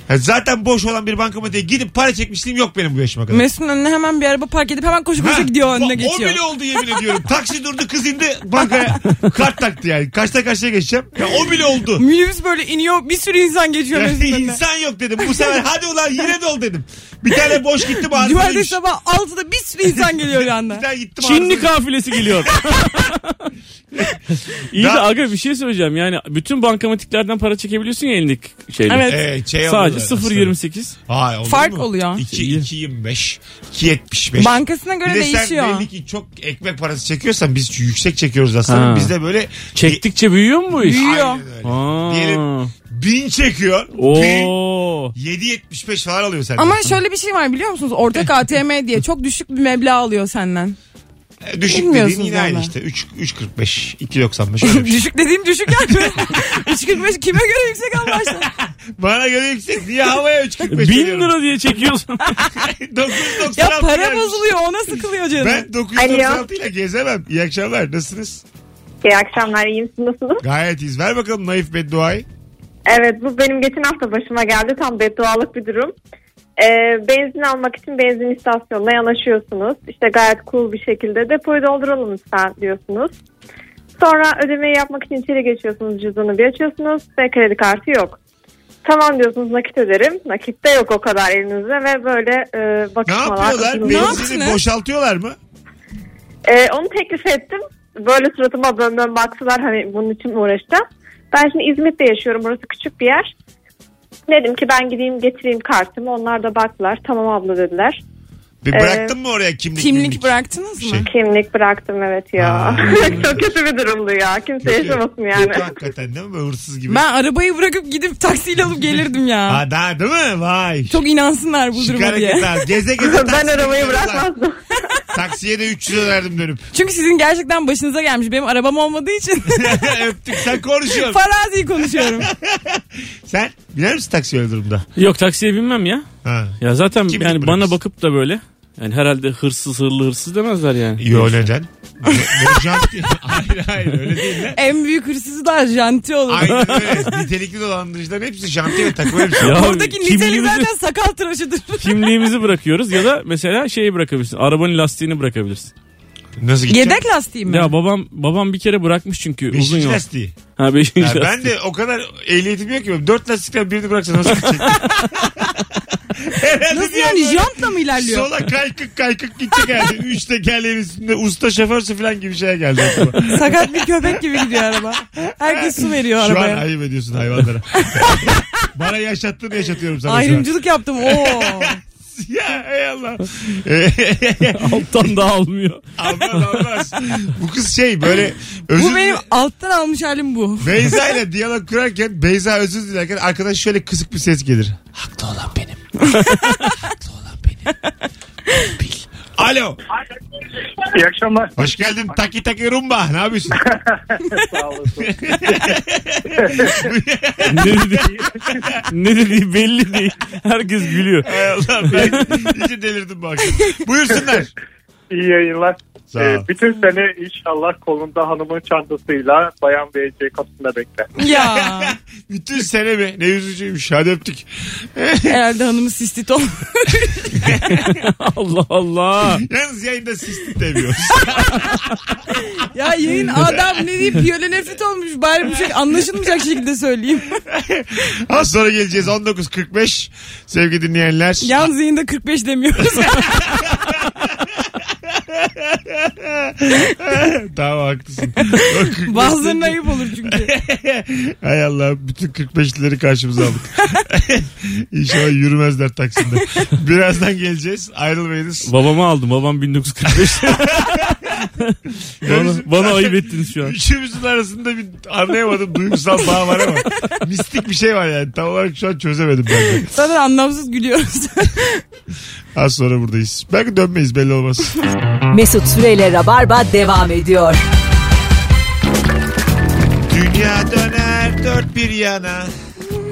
Speaker 3: Ya zaten boş olan bir bankamatiğe gidip para çekmişliğim yok benim bu yaşıma kadar.
Speaker 2: Mesut'un önüne hemen bir araba park edip hemen koşu koşu
Speaker 3: Ha,
Speaker 2: gidiyor önüne
Speaker 3: o- O
Speaker 2: geçiyor.
Speaker 3: bile oldu yemin ediyorum. Taksi durdu kız indi bankaya kart taktı yani. Kaçta karşıya geçeceğim. Ya o bile oldu.
Speaker 2: Minibüs böyle iniyor bir sürü insan geçiyor
Speaker 3: Ya
Speaker 2: Mesut'un önüne.
Speaker 3: insan yok dedim. Bu sefer hadi ulan yine dol dedim. Bir tane boş gitti mi
Speaker 2: Cumartesi
Speaker 3: ağzımdaymış.
Speaker 2: sabah 6'da bir sürü insan geliyor bir anda.
Speaker 3: [laughs] Bir tane gittim
Speaker 5: Çinli
Speaker 3: ağzına-
Speaker 5: kafilesi [laughs] geliyor. İyi de
Speaker 3: Daha-
Speaker 5: aga bir şey söyleyeceğim. Yani bütün bankamatiklerden para çekebiliyorsun ya elindeki şeyle.
Speaker 2: Evet.
Speaker 3: Ee, şey
Speaker 5: Sadece
Speaker 3: alıyorlar aslında.
Speaker 5: 0.28.
Speaker 3: Hayır, olur
Speaker 2: Fark
Speaker 3: mu?
Speaker 2: oluyor.
Speaker 3: 2, 2.25, 2.75.
Speaker 2: Bankasına göre
Speaker 3: bir de
Speaker 2: değişiyor.
Speaker 3: sen belli ki çok ekmek parası çekiyorsan biz yüksek çekiyoruz aslında.
Speaker 5: Ha.
Speaker 3: Bizde böyle
Speaker 5: Çektikçe büyüyor mu bu iş?
Speaker 2: Büyüyor.
Speaker 3: Aynen öyle.
Speaker 5: Aa.
Speaker 3: Diyelim bin çekiyor. Bin,
Speaker 5: Oo.
Speaker 3: 7.75 falan alıyor senden.
Speaker 2: Ama şöyle bir şey var biliyor musunuz? Ortak ATM diye çok düşük bir meblağ alıyor senden. [laughs]
Speaker 3: E, Düşük dediğin
Speaker 2: bilmiyorsunuz
Speaker 3: yine aynı
Speaker 2: vallahi.
Speaker 3: işte. 3, 3.45, 2.95
Speaker 2: [laughs]
Speaker 3: öyle bir şey.
Speaker 2: düşük dediğim düşük
Speaker 3: [laughs]
Speaker 2: yani. 3.45 kime göre yüksek anlaştın?
Speaker 3: Bana göre yüksek. Niye havaya 3.45
Speaker 5: Bin
Speaker 3: veriyorum? [laughs]
Speaker 5: lira diye çekiyorsun.
Speaker 3: 9.96
Speaker 2: Ya para
Speaker 3: gelmiş.
Speaker 2: bozuluyor ona sıkılıyor canım.
Speaker 3: Ben 996 ile gezemem. İyi akşamlar. Nasılsınız?
Speaker 9: İyi akşamlar, iyi misiniz? Nasılsınız?
Speaker 3: Gayet iyiyiz. Ver bakalım naif bedduayı.
Speaker 9: Evet, bu benim geçen hafta başıma geldi. Tam beddualık bir durum. Ee, benzin almak için benzin istasyonuna yanaşıyorsunuz. İşte gayet cool bir şekilde depoyu dolduralım lütfen diyorsunuz. Sonra ödemeyi yapmak için içeri geçiyorsunuz. Cüzdanı bir açıyorsunuz ve kredi kartı yok. Tamam diyorsunuz nakit öderim. Nakit de yok o kadar elinizde ve böyle e,
Speaker 3: Ne
Speaker 9: bakışmalar.
Speaker 3: yapıyorlar?
Speaker 9: uzun-
Speaker 2: Ne
Speaker 3: Benzini
Speaker 2: yaptınız?
Speaker 3: boşaltıyorlar mı?
Speaker 9: Ee, onu teklif ettim. Böyle suratıma dön dön baktılar hani bunun için mi uğraşacağım. Ben şimdi İzmit'te yaşıyorum. Burası küçük bir yer. Dedim ki ben gideyim getireyim kartımı. Onlar da baktılar. Tamam abla dediler.
Speaker 3: Bir
Speaker 9: Ee,
Speaker 3: bıraktın mı oraya kimlik?
Speaker 2: Kimlik bıraktınız mı?
Speaker 3: Şey.
Speaker 9: Kimlik bıraktım evet ya.
Speaker 3: Aa.
Speaker 9: [laughs] Çok kötü bir durumdu ya. Kimse
Speaker 3: Kötü.
Speaker 9: yaşamasın yani.
Speaker 3: Kötü hakikaten değil mi? Böyle hırsız gibi.
Speaker 2: Ben arabayı bırakıp gidip taksiyle alıp gelirdim ya.
Speaker 3: Ha, daha değil mi? Vay.
Speaker 2: Çok inansınlar bu
Speaker 3: Şık
Speaker 2: duruma
Speaker 3: hareket
Speaker 2: diye. [laughs]
Speaker 3: ha. Geze geze
Speaker 9: [laughs] ben
Speaker 3: taksiye
Speaker 9: arabayı
Speaker 3: gidiyorlar.
Speaker 9: bırakmazdım.
Speaker 3: Taksiye de 3 lira verdim dönüp. [laughs]
Speaker 2: Çünkü sizin gerçekten başınıza gelmiş. Benim arabam olmadığı için [laughs]
Speaker 3: Öptük sen konuşuyorsun. [laughs]
Speaker 2: farazi konuşuyorum.
Speaker 3: sen biner misin taksiye öyle durumda?
Speaker 5: Yok taksiye binmem ya.
Speaker 3: Ha.
Speaker 5: Ya zaten
Speaker 3: Kim
Speaker 5: yani
Speaker 3: bilir
Speaker 5: bana
Speaker 3: bırakırsın?
Speaker 5: bakıp da böyle. Yani herhalde hırsız hırlı hırsız demezler yani.
Speaker 3: Yo neden? Ne,
Speaker 2: [laughs]
Speaker 3: ne jant diye. Hayır hayır öyle değil lan.
Speaker 2: en büyük hırsızlar janti olur.
Speaker 3: Aynen öyle. Nitelikli dolandırıcıların hepsi jantiye ve takma elbise.
Speaker 5: Ya
Speaker 2: Oradaki niteliği
Speaker 5: kimliğimizi,
Speaker 2: zaten sakal tıraşıdır.
Speaker 5: kimliğimizi bırakıyoruz ya da mesela şeyi bırakabilirsin. Arabanın lastiğini bırakabilirsin.
Speaker 3: Nasıl gidecek?
Speaker 2: [laughs] Yedek lastiği mi?
Speaker 5: Ya babam babam bir kere bırakmış çünkü uzun
Speaker 3: Beşinci
Speaker 5: yol.
Speaker 3: lastiği.
Speaker 5: Ha beşinci
Speaker 3: Ya
Speaker 5: lastik.
Speaker 3: ben de o kadar ehliyetim yok ki. benim. Dört lastikten birini bıraksan nasıl
Speaker 2: [laughs]
Speaker 3: gidecek? Herhalde
Speaker 2: Nasıl
Speaker 3: diyor
Speaker 2: yani
Speaker 3: böyle
Speaker 2: jantla mı ilerliyor?
Speaker 3: Sola kaykık kaykık gidecek
Speaker 2: [laughs]
Speaker 3: yani. Üç tekerleğin üstünde usta şoförsü falan gibi şeye geldi.
Speaker 2: [laughs]
Speaker 3: aklıma.
Speaker 2: Sakat bir köpek gibi gidiyor araba. Herkes su veriyor
Speaker 3: Şu an
Speaker 2: arabaya.
Speaker 3: ayıp [laughs] ediyorsun hayvanlara. Bana yaşattığını yaşatıyorum sana şu an.
Speaker 2: Ayrımcılık yaptım. Oo.
Speaker 3: almaz. [laughs] Ya ey Allah. [laughs] Ee, [laughs]
Speaker 5: Alttan da almıyor.
Speaker 3: almaz almaz. Bu kız şey böyle özür
Speaker 2: Bu benim alttan almış halim bu.
Speaker 3: Beyza ile diyalog kurarken Beyza özür dilerken arkadaş şöyle kısık bir ses gelir. Haklı olan [laughs] benim. Haklı olan benim. Bil. Alo.
Speaker 7: İyi akşamlar.
Speaker 3: Hoş geldin Taki Taki Rumba. Ne
Speaker 7: [laughs]
Speaker 3: yapıyorsun?
Speaker 7: Sağ olasın.
Speaker 5: ne dedi? ne dediği belli değil. Herkes gülüyor.
Speaker 3: Ey Allah ben iyice delirdim bak. Buyursunlar.
Speaker 7: İyi yayınlar.
Speaker 3: Sağ ol.
Speaker 7: Ee, bütün sene inşallah kolunda hanımın çantasıyla bayan BC kapısında bekler.
Speaker 3: [laughs]
Speaker 2: Ya
Speaker 3: Bütün sene mi? Ne üzücüymüş. Hadi öptük.
Speaker 2: herhalde hanımı sistit ol.
Speaker 5: Allah Allah.
Speaker 3: Yalnız yayında sistit demiyoruz.
Speaker 7: [laughs]
Speaker 2: ya
Speaker 3: [laughs]
Speaker 2: yayın adam ne diyeyim piyolonefrit olmuş. Bari bir şey anlaşılmayacak şekilde söyleyeyim.
Speaker 3: Az sonra geleceğiz 19.45. Sevgili dinleyenler.
Speaker 2: Yalnız yayında
Speaker 3: [laughs]
Speaker 2: 45 demiyoruz.
Speaker 3: tamam haklısın.
Speaker 2: Bazılarına ayıp olur çünkü.
Speaker 3: Hay Allah bütün 45'lileri karşımıza aldık. [laughs] İnşallah yürümezler Taksim'de. Birazdan geleceğiz. Ayrılmayınız.
Speaker 5: Babamı aldım. Babam 1945. bana,
Speaker 3: Görüşürüz.
Speaker 5: bana ayıp ettiniz şu an.
Speaker 3: Üçümüzün arasında bir anlayamadım duygusal bağ var ama mistik bir şey var yani tam olarak şu an çözemedim ben de.
Speaker 2: Zaten anlamsız gülüyoruz. [laughs]
Speaker 3: Az sonra buradayız. Belki dönmeyiz belli olmaz.
Speaker 1: Mesut Süreyle Rabarba devam ediyor.
Speaker 3: Dünya döner dört bir yana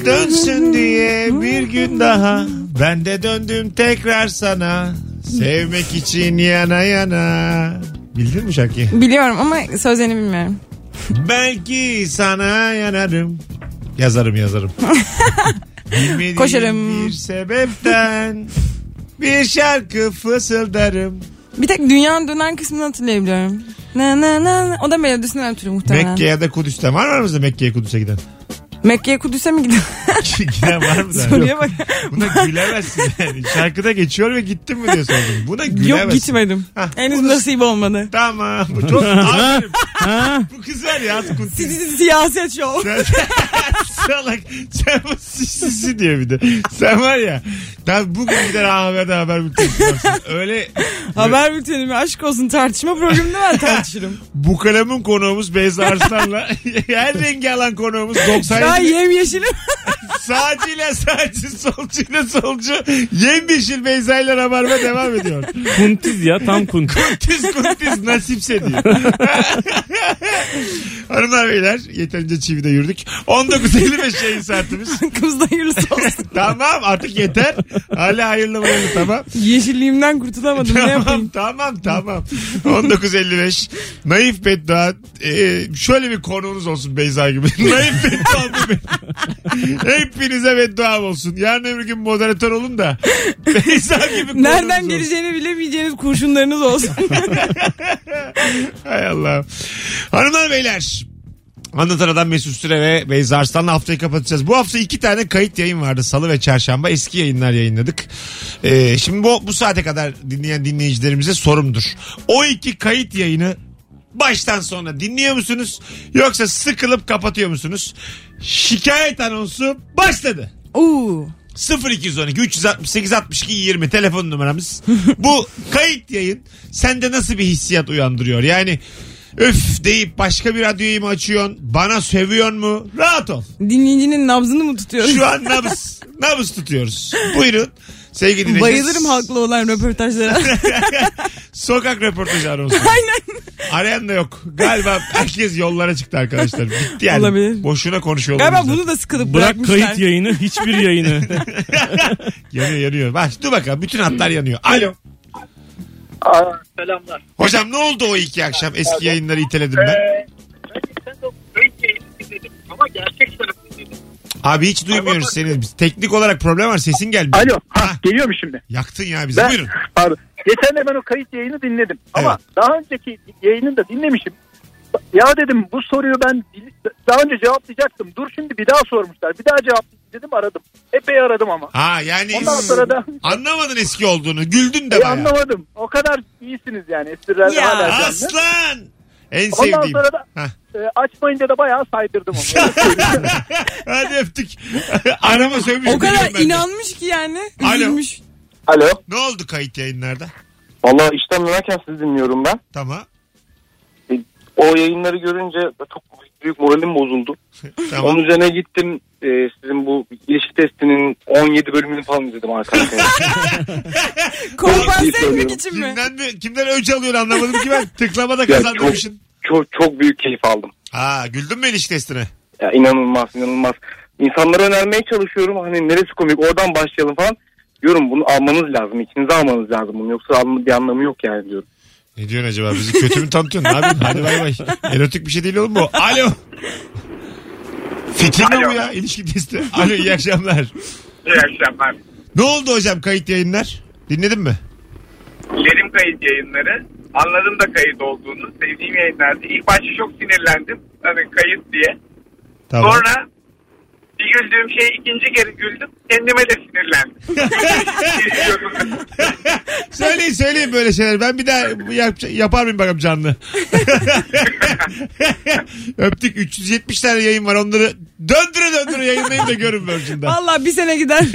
Speaker 3: Dönsün diye bir gün daha Ben de döndüm tekrar sana Sevmek için yana yana Bildin mi şarkıyı?
Speaker 2: Biliyorum ama sözlerini bilmiyorum.
Speaker 3: Belki sana yanarım Yazarım
Speaker 2: [laughs]
Speaker 3: yazarım Bilmediğim
Speaker 2: Koşarım.
Speaker 3: bir sebepten Bir şarkı fısıldarım
Speaker 2: Bir tek dünyanın dönen kısmını hatırlayabiliyorum. Na na na. na. O da melodisinden ötürü muhtemelen.
Speaker 3: Mekke ya da Kudüs'ten var mı aramızda Mekke'ye Kudüs'e
Speaker 2: [laughs]
Speaker 3: giden?
Speaker 2: Mekke'ye Kudüs'e
Speaker 3: [laughs]
Speaker 2: mi gidiyor?
Speaker 3: giden var mı? da?
Speaker 2: Soruya bak.
Speaker 3: Buna gülemezsin yani. Şarkıda geçiyor ve gittin mi diye sordum. Buna gülemezsin.
Speaker 2: Yok gitmedim.
Speaker 3: Hah,
Speaker 2: Henüz
Speaker 3: bu da- [laughs]
Speaker 2: nasip olmadı. [laughs]
Speaker 3: Tamam. Bu çok aferin. Bu kız var ya. az kunti.
Speaker 2: Sizi siyaset şov.
Speaker 3: Sen- Salak. Sen bu sisi diyor bir de. Sen var ya. Tam bugün gider A Haber'de haber bültenisi yaparsın. Öyle
Speaker 2: Haber bülteni mi? Aşk olsun tartışma programında ben tartışırım.
Speaker 3: bu kalemin konuğumuz Beyza Arslan'la [laughs] her rengi alan konuğumuz
Speaker 2: Ben
Speaker 3: 97
Speaker 2: yemyeşilim. [laughs]
Speaker 3: sağcıyla sağcı solcuyla solcu yemyeşil Beyza ile rabarba devam ediyor.
Speaker 5: Kuntiz ya tam kuntiz.
Speaker 3: Kuntiz kuntiz nasipse diyor. Hanımlar beyler yeterince çivide yürüdük. 19.55 yayın saatimiz.
Speaker 2: Kızda hayırlısı olsun.
Speaker 3: tamam artık yeter. Hala hayırlı bayırlı tamam.
Speaker 2: Yeşilliğimden kurtulamadım. Ne
Speaker 3: Tamam [laughs]
Speaker 2: yapayım?
Speaker 3: tamam tamam. 19.55 Naif Beddua e, şöyle bir konuğunuz olsun Beyza
Speaker 2: [laughs]
Speaker 3: gibi. Naif Beddua bu benim. Hepinize beddua olsun. Yarın öbür gün moderatör olun da Beyza gibi konuğunuz
Speaker 2: Nereden
Speaker 3: olsun.
Speaker 2: geleceğini bilemeyeceğiniz
Speaker 3: [laughs]
Speaker 2: kurşunlarınız olsun.
Speaker 3: Hay Allah. Hanımlar beyler. Anlatan Adam Mesut Süre ve Beyza Arslan'la haftayı kapatacağız. Bu hafta iki tane kayıt yayın vardı. Salı ve çarşamba eski yayınlar yayınladık. Ee, şimdi bu, bu saate kadar dinleyen dinleyicilerimize sorumdur. O iki kayıt yayını baştan sona dinliyor musunuz? Yoksa sıkılıp kapatıyor musunuz? Şikayet anonsu başladı.
Speaker 2: Oo.
Speaker 3: 0212 368 62 20 telefon numaramız. [laughs] Bu kayıt yayın sende nasıl bir hissiyat uyandırıyor? Yani öf deyip başka bir radyoyu mu açıyorsun? Bana sövüyorsun mu? Rahat ol.
Speaker 2: Dinleyicinin nabzını mı tutuyoruz?
Speaker 3: Şu an nabız, nabız tutuyoruz. Buyurun. Sevgili dinleyiciler.
Speaker 2: [laughs] Bayılırım haklı olan röportajlara.
Speaker 3: [laughs] Sokak röportajı
Speaker 2: [laughs]
Speaker 3: anonsu. Aynen. Arayan da yok. Galiba herkes yollara çıktı arkadaşlar. Bitti yani.
Speaker 2: Olabilir.
Speaker 3: Boşuna konuşuyorlar.
Speaker 2: Galiba bunu da sıkılıp
Speaker 5: Bırak
Speaker 2: bırakmışlar.
Speaker 5: kayıt yayını hiçbir yayını.
Speaker 3: Yanıyor yanıyor. Bak dur bakalım bütün hatlar yanıyor. Alo.
Speaker 7: Aa, selamlar.
Speaker 3: Hocam ne oldu o iki akşam? Eski yayınları iteledim ben.
Speaker 7: ama gerçek dedim.
Speaker 3: Abi hiç duymuyoruz seni. Biz Teknik olarak problem var. Sesin gelmiyor.
Speaker 7: Alo.
Speaker 3: Ha,
Speaker 7: Ha, geliyor mu şimdi?
Speaker 3: yaktın ya bizi.
Speaker 7: Ben,
Speaker 3: Buyurun.
Speaker 7: pardon. Geçen de ben o kayıt yayını dinledim. Ama daha önceki yayını da dinlemişim. Ya dedim bu soruyu ben bil- daha önce cevaplayacaktım. Dur şimdi bir daha sormuşlar. Bir daha cevap dedim aradım. Epey aradım ama.
Speaker 3: Ha yani
Speaker 7: Ondan sonra da
Speaker 3: anlamadın eski olduğunu. Güldün de
Speaker 7: e,
Speaker 3: bayağı.
Speaker 7: anlamadım. O kadar iyisiniz yani. Espriler
Speaker 2: Ya.
Speaker 7: hala canlı.
Speaker 3: Aslan! En
Speaker 7: Ondan
Speaker 3: sevdiğim.
Speaker 7: sonra da-
Speaker 3: Hah.
Speaker 7: E, açmayınca da bayağı saydırdım onu.
Speaker 3: [laughs] Hadi öptük. [laughs] Arama sövmüş.
Speaker 2: O kadar
Speaker 3: biliyorum ben de.
Speaker 2: inanmış ki yani.
Speaker 3: Alo.
Speaker 2: Üzülmüş.
Speaker 8: Alo.
Speaker 3: Ne oldu kayıt yayınlarda?
Speaker 8: Valla işten dönerken sizi dinliyorum ben.
Speaker 3: Tamam.
Speaker 8: O yayınları görünce çok büyük moralim bozuldu.
Speaker 3: Tamam.
Speaker 8: Onun üzerine gittim. e, sizin bu ilişki testinin 17 bölümünü falan izledim arkadaşlar.
Speaker 3: [laughs]
Speaker 2: Kompanse
Speaker 8: İyi söylüyorum.
Speaker 2: etmek için mi?
Speaker 3: Kimden, mi, kimden öç alıyor anlamadım ki ben. Tıklama da kazandırmışsın.
Speaker 8: çok, çok büyük keyif aldım.
Speaker 3: Ha güldün mü ilişki testine?
Speaker 8: Ya inanılmaz inanılmaz. İnsanlara önermeye çalışıyorum. Hani neresi komik oradan başlayalım falan. Diyorum bunu almanız lazım. İçinize almanız lazım bunu. Yoksa alma, bir anlamı yok yani diyorum.
Speaker 3: Ne diyorsun acaba? Bizi kötü mü tanıtıyorsun? Ne yapıyorsun? Hadi bay bay. Erotik bir şey değil oğlum bu. Alo. Fikir mi bu ya? İlişki testi. Alo iyi akşamlar.
Speaker 7: İyi akşamlar.
Speaker 3: Ne oldu hocam kayıt yayınlar? Dinledin mi?
Speaker 7: Yerim kayıt yayınları. Anladım da kayıt olduğunu. Sevdiğim yayınlardı. İlk başta çok sinirlendim. Hani kayıt diye.
Speaker 3: Tamam.
Speaker 7: Sonra bir güldüğüm şey ikinci kere güldüm. Kendime de sinirlendim.
Speaker 3: Söyleyin söyleyin böyle şeyler. Ben bir daha yap- yapar mıyım bakalım canlı? Öptük 370 tane yayın var. Onları döndüre döndüre yayınlayın da görün Virgin'den.
Speaker 2: Valla bir
Speaker 3: [laughs]
Speaker 2: sene gider.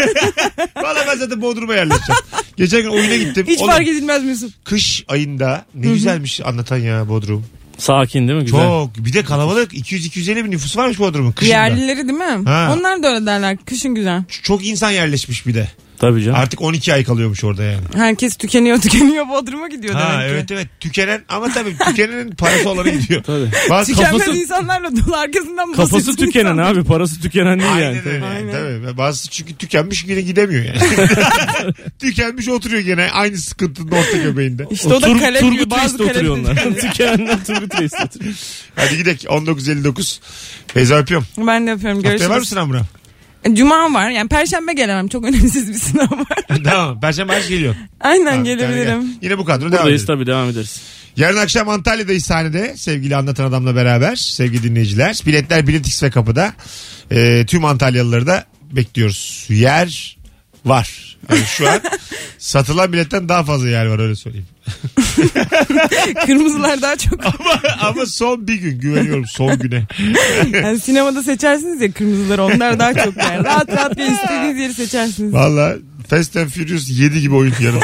Speaker 3: Valla ben zaten Bodrum'a yerleşeceğim. Geçen gün oyuna gittim.
Speaker 2: Hiç
Speaker 3: Oğlum,
Speaker 2: fark edilmez Mesut.
Speaker 3: kış ayında ne güzelmiş anlatan ya Bodrum.
Speaker 5: Sakin değil mi? Güzel.
Speaker 3: Çok. Bir de kalabalık. 200-250 bin nüfus varmış Bodrum'un kışında.
Speaker 2: Yerlileri değil mi?
Speaker 3: Ha.
Speaker 2: Onlar da öyle derler. Kışın güzel.
Speaker 3: Çok insan yerleşmiş bir de.
Speaker 5: Tabii canım.
Speaker 3: Artık 12 ay kalıyormuş orada yani.
Speaker 2: Herkes tükeniyor [laughs] tükeniyor Bodrum'a gidiyor
Speaker 3: Ha
Speaker 2: demek ki.
Speaker 3: evet evet. Tükenen ama tabii tükenenin parası olarak [laughs] gidiyor.
Speaker 5: Tabii.
Speaker 3: Bazı
Speaker 2: Tükenmez
Speaker 5: Kafası-
Speaker 2: insanlarla dolu arkasından
Speaker 5: Kafası
Speaker 2: basıyorsun
Speaker 5: tükenen
Speaker 2: insan.
Speaker 5: abi parası tükenen değil
Speaker 3: Aynen
Speaker 5: yani.
Speaker 3: öyle. Yani,
Speaker 2: Aynen.
Speaker 3: tabii. Bazısı çünkü tükenmiş yine gidemiyor
Speaker 2: [laughs]
Speaker 3: yani. tükenmiş oturuyor gene aynı sıkıntının orta göbeğinde.
Speaker 2: İşte o da
Speaker 5: Tur-
Speaker 2: kalem gibi
Speaker 5: Turgut
Speaker 2: bazı
Speaker 5: Reis'te
Speaker 2: kalem
Speaker 5: oturuyor onlar. [laughs] Tükenenler Turgut Reis'te oturuyor.
Speaker 3: Hadi gidelim 19.59. Beyza öpüyorum.
Speaker 2: Ben de yapıyorum
Speaker 3: Haftaya var
Speaker 2: görüşürüz.
Speaker 3: mısın Amra?
Speaker 2: Cuma var yani perşembe gelemem çok önemsiz bir sınav var.
Speaker 3: [laughs] tamam. Perşembe aç geliyor.
Speaker 2: Aynen
Speaker 3: Tamam,
Speaker 2: gelebilirim.
Speaker 3: yani gel. Yine bu kadro devam
Speaker 5: Buradayız
Speaker 3: edelim.
Speaker 5: tabii devam ederiz.
Speaker 3: Yarın akşam Antalya'dayız sahnede. Sevgili Anlatan Adam'la beraber. Sevgili dinleyiciler. Biletler Biletix ve kapıda. Ee, tüm Antalyalıları da bekliyoruz. Yer var. Yani şu an satılan biletten daha fazla yer var öyle söyleyeyim.
Speaker 2: [laughs] Kırmızılar daha çok.
Speaker 3: Ama, ama son bir gün güveniyorum son güne.
Speaker 2: Yani sinemada seçersiniz ya kırmızıları onlar daha çok. Yani. Rahat rahat bir istediğiniz yeri seçersiniz.
Speaker 3: Valla Fast and Furious 7 gibi oyun yarın.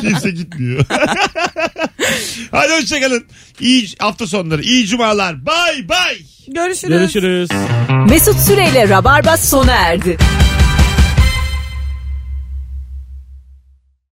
Speaker 3: Kimse gitmiyor. [laughs] Hadi hoşçakalın. İyi hafta sonları. iyi cumalar. Bay bay.
Speaker 2: Görüşürüz.
Speaker 5: Görüşürüz.
Speaker 1: Mesut Süreyle Rabarba sona erdi.